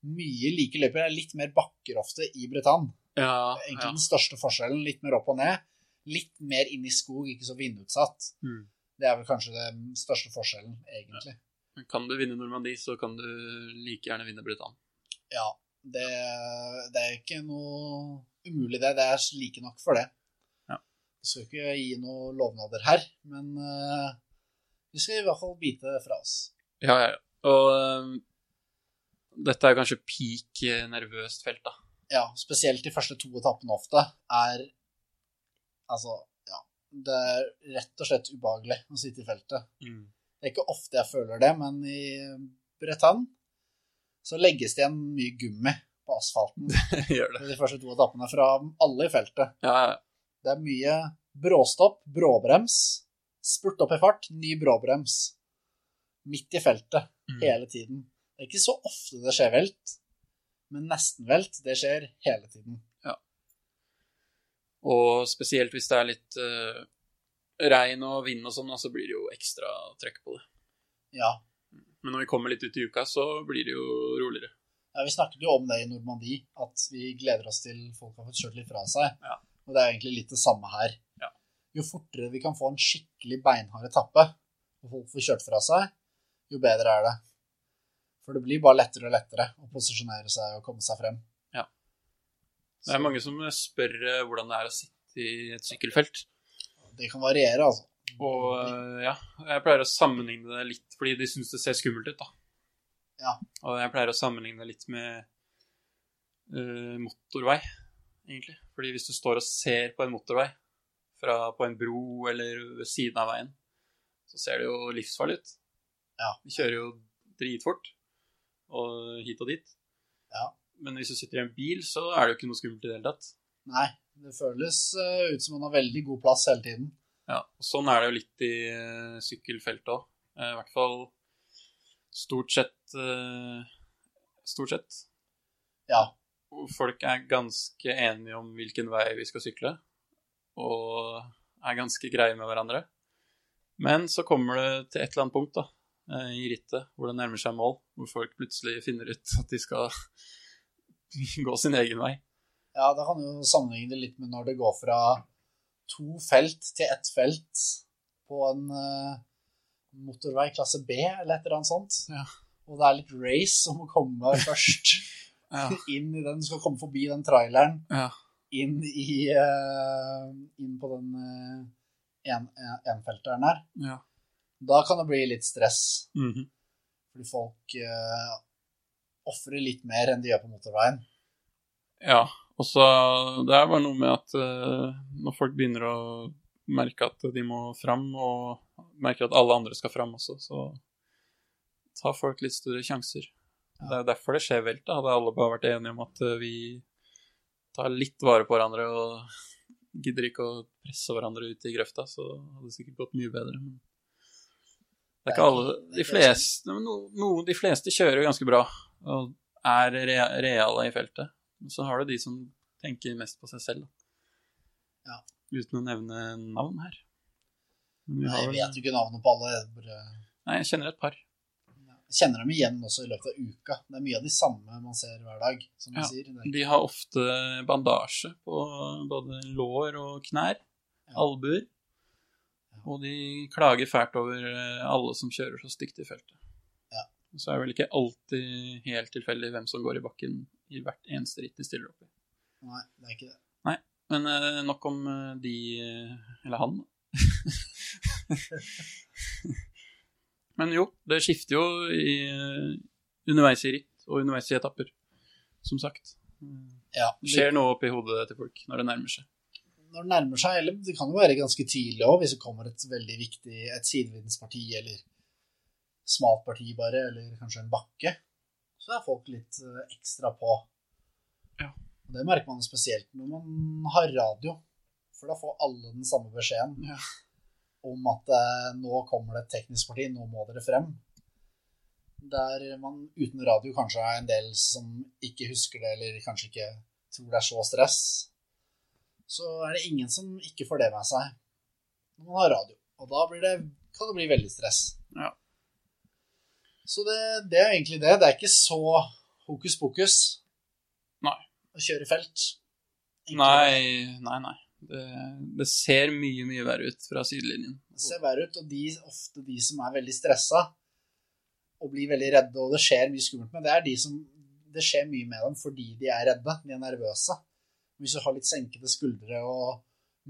Mye like løyper. Det er litt mer bakker ofte i Bretagne. Ja, Egentlig ja. den største forskjellen. Litt mer opp og ned. Litt mer inn i skog, ikke så vindutsatt. Mm. Det er vel kanskje den største forskjellen, egentlig. Kan du vinne Normandie, så kan du like gjerne vinne Bretagne. Ja, det, det er ikke noe umulig det. Det er like nok for det. Ja. Jeg skal ikke gi noen lovnader her, men eh, vi skal i hvert fall bite det fra oss. Ja, ja, ja. Og øhm, dette er kanskje peak eh, nervøst felt, da. Ja, spesielt de første to etappene ofte er Altså, ja. Det er rett og slett ubehagelig å sitte i feltet. Mm. Det er ikke ofte jeg føler det, men i Bretagne så legges det igjen mye gummi på asfalten i Gjør det. de første to etappene fra alle i feltet. Ja, ja. Det er mye bråstopp, bråbrems, spurt opp i fart, ny bråbrems. Midt i feltet, Mm. hele tiden. Det er ikke så ofte det skjer velt, men nesten velt, det skjer hele tiden. Og spesielt hvis det er litt eh, regn og vind og sånn, da, så blir det jo ekstra trøkk på det. Ja, Men når vi kommer litt ut i uka, så blir det jo roligere. ja vi snakket jo om det i Normandie, at vi gleder oss til folk har fått kjørt litt fra seg. Ja. Og det er egentlig litt det samme her. Ja. Jo fortere vi kan få en skikkelig beinhard etappe, og folk får kjørt fra seg, jo bedre er det. For det blir bare lettere og lettere å posisjonere seg og komme seg frem. Ja. Det Så- er mange som spør eh, hvordan det er å sitte i et sykkelfelt. Det kan variere, altså. Og eh, ja, jeg pleier å sammenligne det litt, fordi de syns det ser skummelt ut, da. Ja. Og jeg pleier å sammenligne det litt med eh, motorvei, egentlig. Fordi hvis du står og ser på en motorvei, fra, på en bro eller ved siden av veien, så ser det jo livsfarlig ut. Ja. Vi kjører jo dritfort, og hit og dit. Ja. Men hvis du sitter i en bil, så er det jo ikke noe skummelt i det hele tatt. Nei, det føles eh, ut som man har veldig god plass hele tiden. Ja, og sånn er det jo litt i eh, sykkelfeltet òg. I hvert fall stort sett eh, Stort sett. Ja, Hvor Folk er ganske enige om hvilken vei vi skal sykle, og er ganske greie med hverandre. Men så kommer det til et eller annet punkt da, eh, i rittet hvor det nærmer seg mål, hvor folk plutselig finner ut at de skal gå sin egen vei. ja da kan du jo sammenligne det litt med når det går fra to felt til ett felt på en eh, motorvei klasse B eller et eller annet sånt. Ja. Og det er litt race om å komme først Ja, inn i den. Du skal komme forbi den traileren, ja. inn, i, eh, inn på den eh, en, en, enfelteren her. ja. Da kan det bli litt stress. Mhm. Fordi folk uh, ofrer litt mer enn de gjør på motorveien. Ja, og så det er bare noe med at eh, når folk begynner å merke at de må fram, og merker at alle andre skal fram også, så tar folk litt større sjanser. Det er jo derfor det skjer velt. da. Hadde alle bare vært enige om at eh, vi tar litt vare på hverandre og gidder ikke å presse hverandre ut i grøfta, så hadde det sikkert gått mye bedre. Men det er ikke alle De fleste, men no, no, de fleste kjører jo ganske bra og er re, reale i feltet. Men så har du de som tenker mest på seg selv. da. Ja. Uten å nevne navn her. Men vi Nei, har Jeg vel- vet jo ikke navnet på alle. Jeg bare Nei, jeg kjenner et par. jeg kjenner dem igjen også i løpet av uka. Det er mye av de samme man ser hver dag, som du Ja. sier. Det er De har ofte bandasje på både lår og knær, albuer. Og de klager fælt over eh, alle som kjører så stygt i feltet. Ja. Og Så er det vel ikke alltid helt tilfeldig hvem som går i bakken i hvert eneste ritt de stiller opp i. ikke- Mm. Nei, det er ikke det. Men eh, nok om eh, de eh, Eller han. Men jo, det skifter jo i, eh, underveis i ritt og underveis i etapper, som sagt. Det Ja, det skjer noe oppi hodet til folk når det nærmer seg. når det nærmer seg, eller det kan jo være ganske tidlig òg, hvis det kommer et veldig viktig et sidevindsparti eller smalt parti bare, eller kanskje en bakke, så er folk litt eh, ekstra på. Ja. Og det merker man spesielt når man har radio, for da får alle den samme beskjeden. Ja. om at eh, nå kommer det et teknisk parti, nå må dere frem. Der man uten radio kanskje er en del som ikke husker det, eller kanskje ikke tror det er så stress. Så er det ingen som ikke får det med seg når man har radio. Og da blir det, kan det bli veldig stress. Ja. Så det, det er egentlig det. Det er ikke så hokus pokus Nei. å kjøre i felt. Egentlig. Nei, nei, nei. Det, det ser mye, mye verre ut fra sidelinjen. Det ser verre ut, og de, ofte de som er veldig stressa og blir veldig redde, og det skjer mye skummelt med, det er de som Det skjer mye med dem fordi de er redde, de er nervøse. Hvis du har litt senkede skuldre og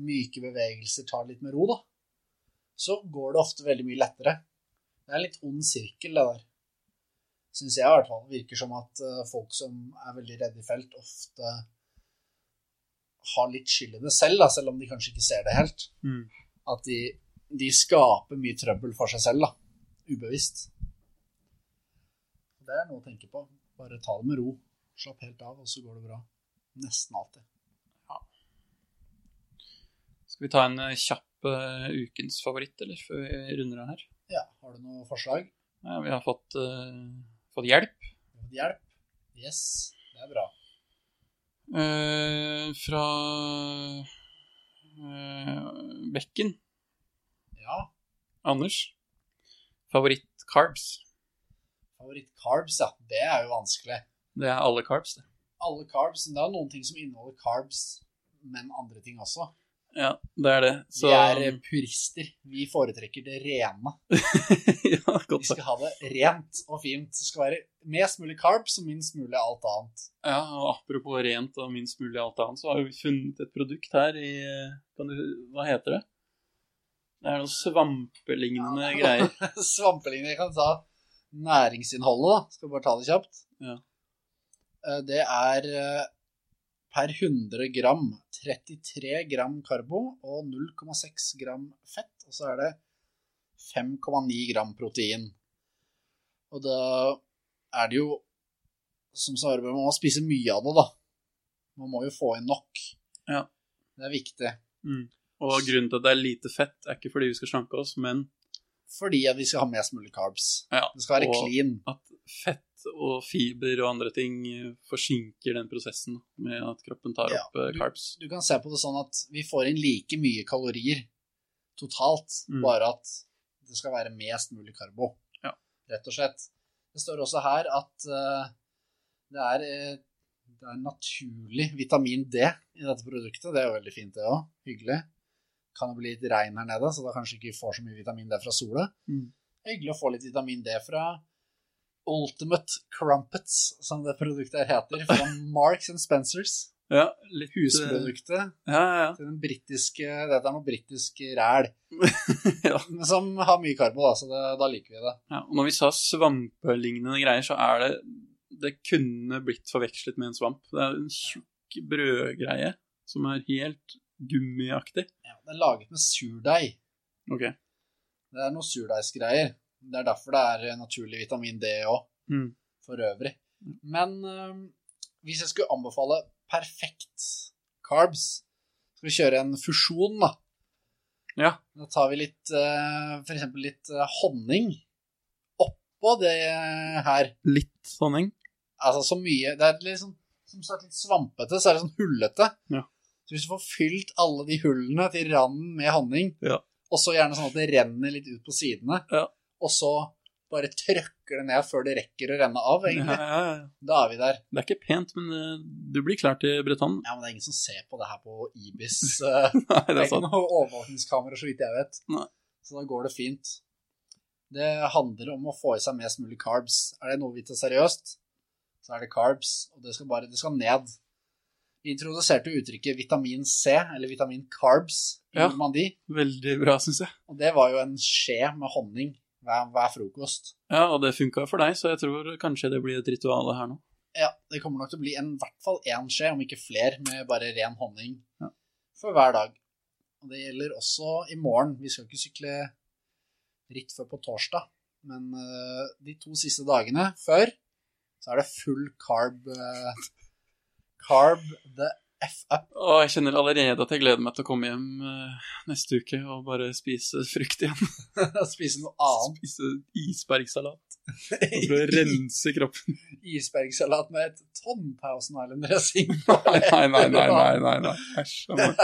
myke bevegelser, tar det litt med ro, da, så går det ofte veldig mye lettere. Det er en litt ond sirkel, det der. Syns jeg i hvert fall. Det virker som at eh, folk som er veldig redde i felt, ofte har litt skyld i det selv, da, selv om de kanskje ikke ser det helt Mm. at de, de skaper mye trøbbel for seg selv, da. Ubevisst. Det er noe å tenke på. Bare ta det med ro. Slapp helt av, og så går det bra. Nesten alltid. Skal vi ta en eh, kjapp eh, ukens favoritt, eller, før vi runder av her? Ja, har du noe forslag? Ja, vi har fått, eh, fått hjelp Hjelp? Yes, det er bra. eh, fra eh, Bekken. Ja, Anders. Favoritt-carbs. favoritt-carbs, ja. Det er jo vanskelig. Det er alle carbs, det. Alle carbs, men det er noen ting som inneholder carbs, men andre ting også. Ja, det er det. Så um, Vi er eh, purister. Vi foretrekker det rene. eh, Ja, Vi godt sagt. skal ha det rent og fint. Det skal være mest mulig carbs og minst mulig alt annet. Ja, og apropos rent og minst mulig alt annet, så har vi funnet et produkt her i eh, kan du, Hva heter det? Det er noe svampelignende Ja. greier. svampelignende. Jeg kan ta næringsinnholdet, da. Skal bare ta det kjapt. Ja. Eh, Det er eh, per 100 gram 33 gram karbo og 0,6 gram fett. Og så er det 5,9 gram protein. Og da er det jo som Sara Bøe, man må spise mye av det, da. Man må jo få inn nok. Ja. Det er viktig. Og grunnen til at det er lite fett, er ikke fordi vi skal slanke oss, men Fordi at vi skal ha mest mulig carbs. Ja, det skal være og- clean. at fett og fiber og andre ting eh, forsinker den prosessen med at kroppen tar Ja, opp eh, du- carbs. du kan se på det sånn at vi får inn like mye kalorier totalt, Mm. bare at det skal være mest mulig karbo, Ja. rett og slett. Det står også her at eh, det, er, eh, det er naturlig vitamin D i dette produktet. Det er jo veldig fint, det òg. Hyggelig. Kan det bli litt regn her nede, så da kanskje ikke vi får så mye vitamin D fra sola. Mm. Det er Hyggelig å få litt vitamin D fra Ultimate Crumpets, som det produktet heter, fra Marks and Spencers. Ja, litt eh, Husproduktet. Ja, ja, Til den britiske Dette er noe britisk ræl. Ja. Men Som har mye karbo, da, så det, da liker vi det. ja. Og når vi sa svampelignende greier, så er det Det kunne blitt forvekslet med en svamp. Det er en tjukk brødgreie som er helt gummiaktig. Det er laget med surdeig. Ok. Det er noe surdeigsgreier. Det er derfor det er naturlig vitamin D òg, Mm. for øvrig. Men øhm, hvis jeg skulle anbefale perfekt carbs Skal vi kjøre en fusjon, da? Ja. Da tar vi litt øh, For eksempel litt øh, honning oppå det her. Litt honning. Altså så mye Det er liksom som sagt litt svampete, så er det sånn hullete. Ja. Så hvis du får fylt alle de hullene til randen med honning, Ja. og så gjerne sånn at det renner litt ut på sidene, Ja. og så bare trøkker det ned før det rekker å renne av, Ja, egentlig, ja, ja. da er vi der. Det er ikke pent, men eh, du blir klar til Bretagne. Ja, men det er ingen som ser på det her på Ibis. eh, Nei, det Det er er ikke sant. noe overvåkningskamera, så vidt jeg vet. Nei. Så da går det fint. Det handler om å få i seg mest mulig carbs. Er det noe vi tar seriøst, så er det carbs, og det skal bare det skal ned. Vi introduserte jo uttrykket vitamin C, eller vitamin carbs, i Ja. Normandie. Veldig bra, syns jeg. Og det var jo en skje med honning hver, hver frokost. Ja, og det funka for deg, så jeg tror kanskje det blir et ritual her nå. Ja, det kommer nok til å bli en, i hvert fall én skje, om ikke flere, med bare ren honning Ja. for hver dag. Og det gjelder også i morgen. Vi skal ikke sykle ritt før på torsdag, men eh, de to siste dagene før så er det full carb eh, Carb the F up. Og jeg kjenner allerede at jeg gleder meg til å komme hjem eh, neste uke og bare spise frukt igjen. Spise noe annet. Spise isbergsalat for å rense kroppen. Isbergsalat med et tonn Thousand Island-dressing. Nei, nei, nei, nei, nei, nei, nei. Æsj. jeg må-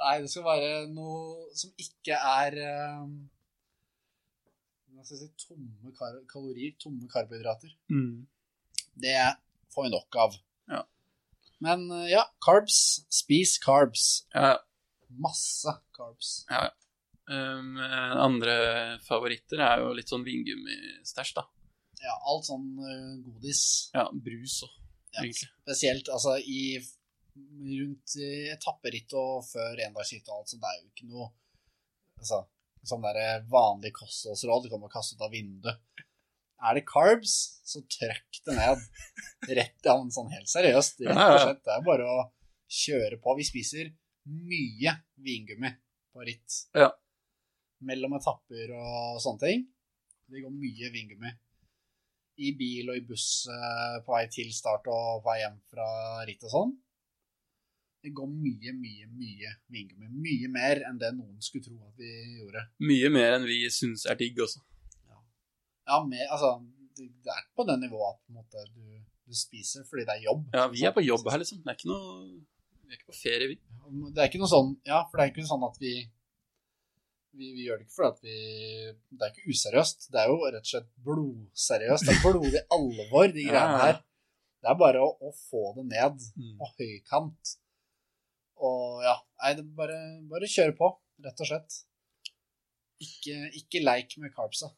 Nei, det skal være noe som ikke er eh, Hva skal jeg si Tomme kar kalorier, tomme karbohydrater. Mm. Det får vi nok av. Ja. Men eh, ja, carbs. Spis carbs. Ja, Masse carbs. Um, andre favoritter er jo litt sånn vingummistæsj, da. Ja, alt sånn eh, godis. Ja, brus og Ja. egentlig. Spesielt altså i rundt eh, etapperitt og før endagsritt og alt, så det er jo ikke noe altså, sånn der vanlig kostholdsråd du kommer å kaste ut av vinduet. Er det carbs, så trøkk det ned. Rett ja, men sånn helt seriøst. Rett Ja, og ja. slett. Det er bare å kjøre på. Vi spiser mye vingummi på ritt. Ja. Mellom etapper og sånne ting. Det går mye vingummi. I bil og i buss eh, på vei til start og på vei hjem fra ritt og sånn. Det går mye, mye, mye vingummi. Mye mer enn det noen skulle tro at vi gjorde. Mye mer enn vi syns er digg også. Ja, mer, altså, det det er på det nivået at på en måte, du, du spiser fordi det er jobb. Ja, vi er på jobb her, liksom. Det er ikke noe Vi er ikke på ferie, vi. Det er ikke noe sånn, ja, for det er ikke sånn at vi, vi, vi gjør det ikke fordi at vi, det er ikke useriøst. Det er jo rett og slett blodseriøst. Det er blodig alvor, de Ja. greiene her. Det er bare å, å få det ned Mm. på høykant. Og ja, nei, det er bare, bare kjøre på, rett og slett. Ikke, ikke leik med carbsa.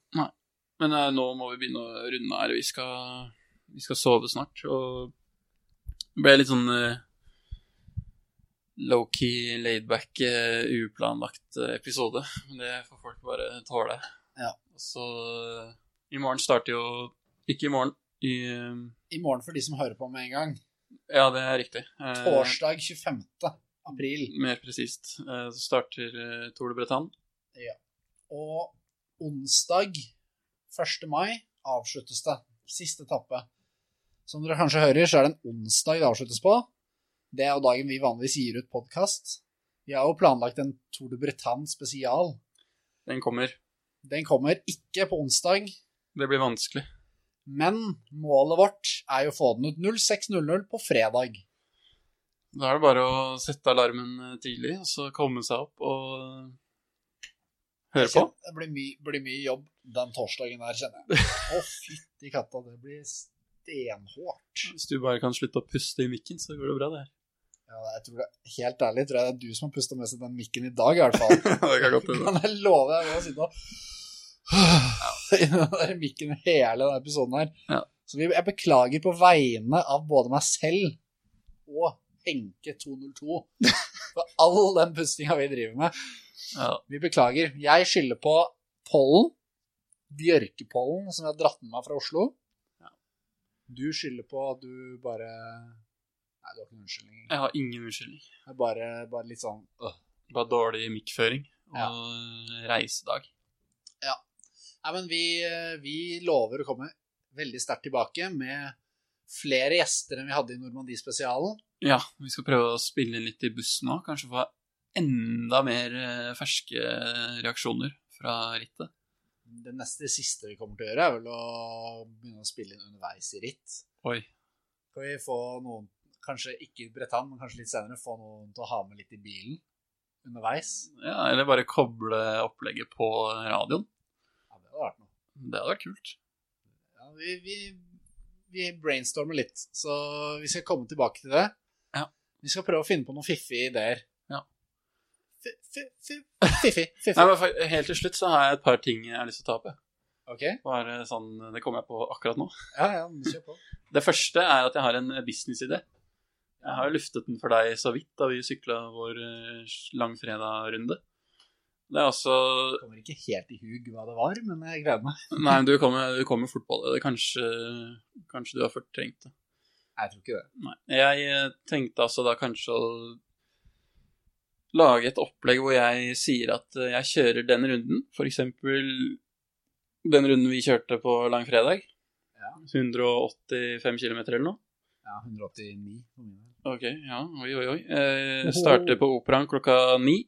Men eh, nå må vi begynne å runde her. Vi skal, vi skal sove snart. Og det ble litt sånn eh, low-key, laid-back, eh, uplanlagt eh, episode. Men det får folk bare tåle. Ja. Og så eh, I morgen starter jo Ikke i morgen. I, eh, I morgen for de som hører på med en gang. ja, det er riktig. Eh, Torsdag 25. april. Mer presist. eh, Så starter eh, Tour de Bretagne. Og onsdag 1. mai avsluttes det. Siste etappe. Som dere kanskje hører, så er det en onsdag det avsluttes på. Det er jo dagen vi vanligvis gir ut podkast. Vi har jo planlagt en Tour de Bretagne spesial. Den kommer. Den kommer ikke på onsdag, Det blir vanskelig. men målet vårt er jo å få den ut 06.00 på fredag. Da er det bare å sette alarmen eh, tidlig, og så komme seg opp og eh, høre på. Det blir, my, blir mye jobb den torsdagen der, kjenner jeg. Å, fytti katta, det blir stenhårt. Hvis du bare kan slutte å puste i mikken, så går det bra, det her. Ja, jeg tror det, helt ærlig tror jeg det er du som har pusta med seg den mikken i dag, i hvert fall. det kan godt hende. Kan jeg love deg å sitte og i den der mikken hele denne episoden her. Ja. Så vi, jeg beklager på vegne av både meg selv og Henke202 for all den pustinga vi driver med. Ja, Vi beklager. Jeg skylder på pollen. Bjørkepollen som jeg har dratt med meg fra Oslo. Du skylder på at du bare Nei, du har ikke noen unnskyldning. jeg har ingen unnskyldning. Det er bare, bare litt sånn øh. Bare dårlig mikkføring og eh, Ja. reisedag. Nei, men vi, eh, vi lover å komme veldig sterkt tilbake med flere gjester enn vi hadde i Normandie-spesialen. Ja, vi skal prøve å spille inn litt i bussen nå. Kanskje få enda mer eh, ferske reaksjoner fra rittet. Det neste siste vi kommer til å gjøre, er vel å begynne å spille inn underveis i ritt. Oi. Kan vi få noen, kanskje ikke i Bretagne, men kanskje litt senere, få noen til å ha med litt i bilen underveis? Ja, eller bare koble opplegget på radioen. Ja, det hadde vært noe. Det hadde vært kult. Ja, vi, vi, vi brainstormer litt, så vi skal komme tilbake til det. Ja. Vi skal prøve å finne på noen fiffige ideer. Ja. Fi- fi- fi- Fiffig. Nei, Fiffig. men fa- Helt til slutt så har jeg et par ting jeg har lyst til å ta opp. jeg. Ok. Bare sånn, Det kommer jeg på akkurat nå. Ja, ja, men kjør på. Det første er at jeg har en businessidé. Jeg har jo luftet den for deg så vidt da vi sykla vår eh, langfredag-runde. Det er altså Kommer ikke helt i hug hva det var, men jeg gleder meg. Nei, men du kommer du kommer fort på det. Kanskje, kanskje du har fortrengt det. Nei, Jeg tror ikke det. Nei. Jeg eh, tenkte altså da kanskje å lage et opplegg hvor jeg sier at eh, jeg kjører den runden, for eksempel den runden vi kjørte på langfredag. Ja. 185 km eller noe. Ja, 189 på min del. Ok, ja, oi, oi, oi. Eh, starter på operaen klokka ni.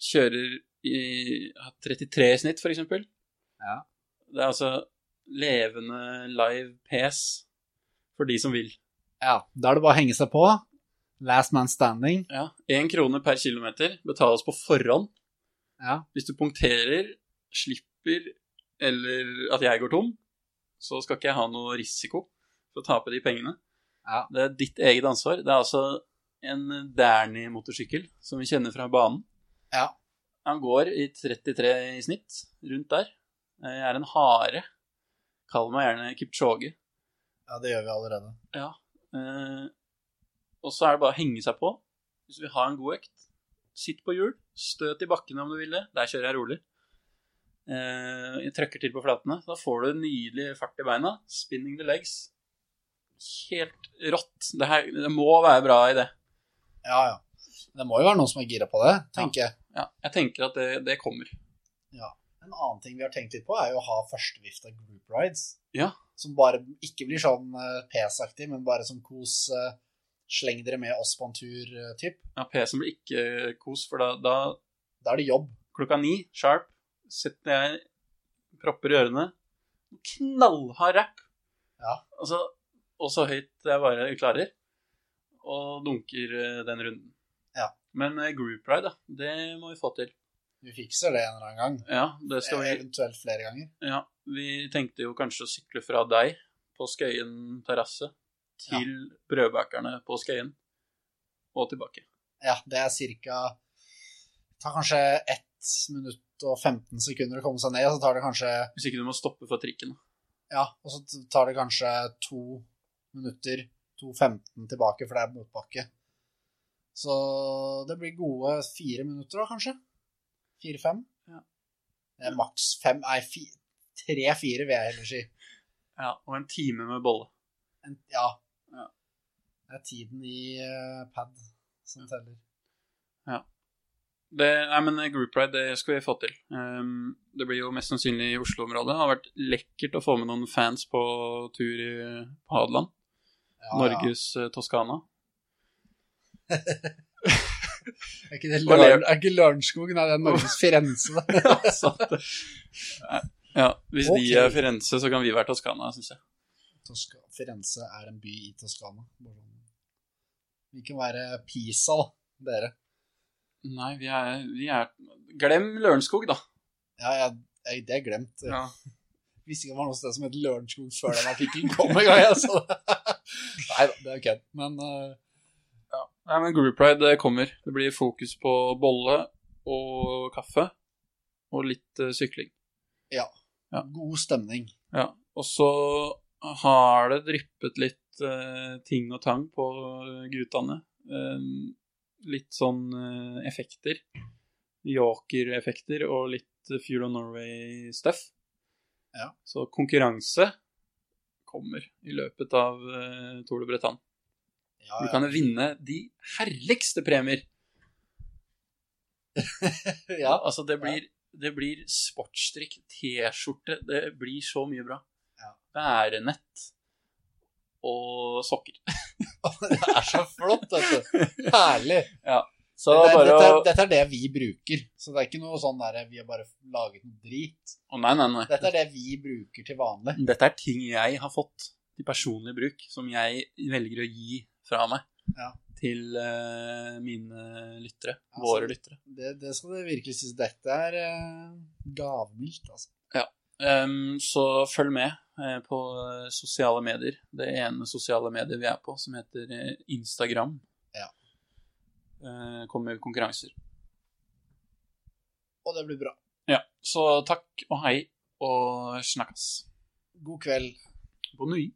Kjører i har 33 i snitt, for eksempel. Ja. Det er altså levende live pes for de som vil. Ja, Da er det bare å henge seg på. Last man standing. Ja, Én krone per kilometer betales på forhånd. Ja. Hvis du punkterer, slipper eller at jeg går tom, så skal ikke jeg ha noe risiko for å tape de pengene. Ja. Det er ditt eget ansvar. Det er altså en Dernie-motorsykkel som vi kjenner fra banen. Ja. Han går i 33 i snitt, rundt der. Jeg er en hare. Kall meg gjerne Kipchoge. ja, det gjør vi allerede. Eh, og så er det bare å henge seg på. Hvis du vil ha en god økt, sitt på hjul. Støt i bakkene om du vil det. Der kjører jeg rolig. Eh, jeg trøkker til på flatene. Da får du nydelig fart i beina. Spinning the legs. Helt rått. Det, her, det må være bra i det. Ja, ja. Det må jo være noen som er gira på det, tenker jeg. Ja, jeg tenker at det, det kommer. En annen ting vi har tenkt litt på, er jo å ha førstevift av group rides. Ja. Som bare ikke blir sånn eh, pes-aktig, men bare som kos. eh, Sleng dere med oss på en eh, tur-typ. Ja, PC-en blir ikke kos, for da, da Da er det jobb. klokka ni sharp setter jeg propper i ørene. Knallhard rapp. Ja. Altså, og så høyt jeg bare klarer. Og dunker eh, den runden. Ja. Men eh, group ride, da, det må vi få til. Vi fikser det en eller annen gang. Ja, det skal vi Eventuelt flere ganger. Ja, vi tenkte jo kanskje å sykle fra deg på Skøyen terrasse til brødbakerne på Skøyen, og tilbake. Ja, det er ca. tar kanskje 1 minutt og 15 sekunder å komme seg ned, og så tar det kanskje Hvis ikke du må stoppe for trikken. Ja, og så tar det kanskje 2 minutter, 2.15 tilbake, for det er motbakke. Så det blir gode fire minutter, da, kanskje? Fire-fem? Ja. Det er maks fem Nei, fi- tre-fire vil jeg heller si. Ja, og en time med bolle. En, ja. Ja. Det er tiden i eh, pad som teller. Det, nei, men Group Ride det skal vi få til. Ehm, det blir jo mest sannsynlig i Oslo-området. Det har vært lekkert å få med noen fans på tur i, på Hadeland. Ja, ja. Norges eh, Toskana. Er ikke det Hva lever- Løren- er ikke Lørenskog? Nei, det er Norges Firenze. da. Altså. Så at, eh, ja, hvis Ok. de er Firenze, så kan vi være Toskana, syns jeg. Tosca, Firenze er en by i Toskana. Bare sånn. Vi kan være Pisa, da, dere. Nei, vi er, vi er Glem Lørenskog, da. Ja, jeg, jeg, det er glemt. Jeg Ja. visste ikke det var noe sted som het Lørenskog før den artikkelen kom en gang. Jeg, så det. Nei da, det er kødd. Men eh, Nei, men Group Ride det kommer. Det blir fokus på bolle og kaffe og litt eh, sykling. Ja. god stemning. Ja, og så har det dryppet litt eh, ting og tang på guttene. Eh, litt sånn eh, effekter. Joker-effekter og litt eh, Fuel of Norway-stuff. Ja. Så konkurranse kommer i løpet av eh, Tour de Bretagne. Ja, Du ja. kan vinne de herligste premier! ja. Altså, det blir, det blir sportsdrikk, T-skjorte Det blir så mye bra. Ja. Værenett og sokker. Det er så flott, vet du. Herlig. Så dette, er- bare dette, å er, dette er det vi bruker. Så det er ikke noe sånn der vi har bare laget noe drit. Å, nei, nei, nei. Dette er det vi bruker til vanlig. Dette er ting jeg har fått til personlig bruk, som jeg velger å gi fra meg Ja. til eh, mine lyttere. Altså, våre lyttere. Det, det skal det virkelig sies. Dette er uh, gavmildt, altså. Ehm, så følg med eh, på sosiale medier. Det ene sosiale mediet vi er på, som heter eh, Instagram, Ja. Eh, kommer konkurranser. Og det blir bra. Ja, så takk og hei og snakkes. God kveld. På ny.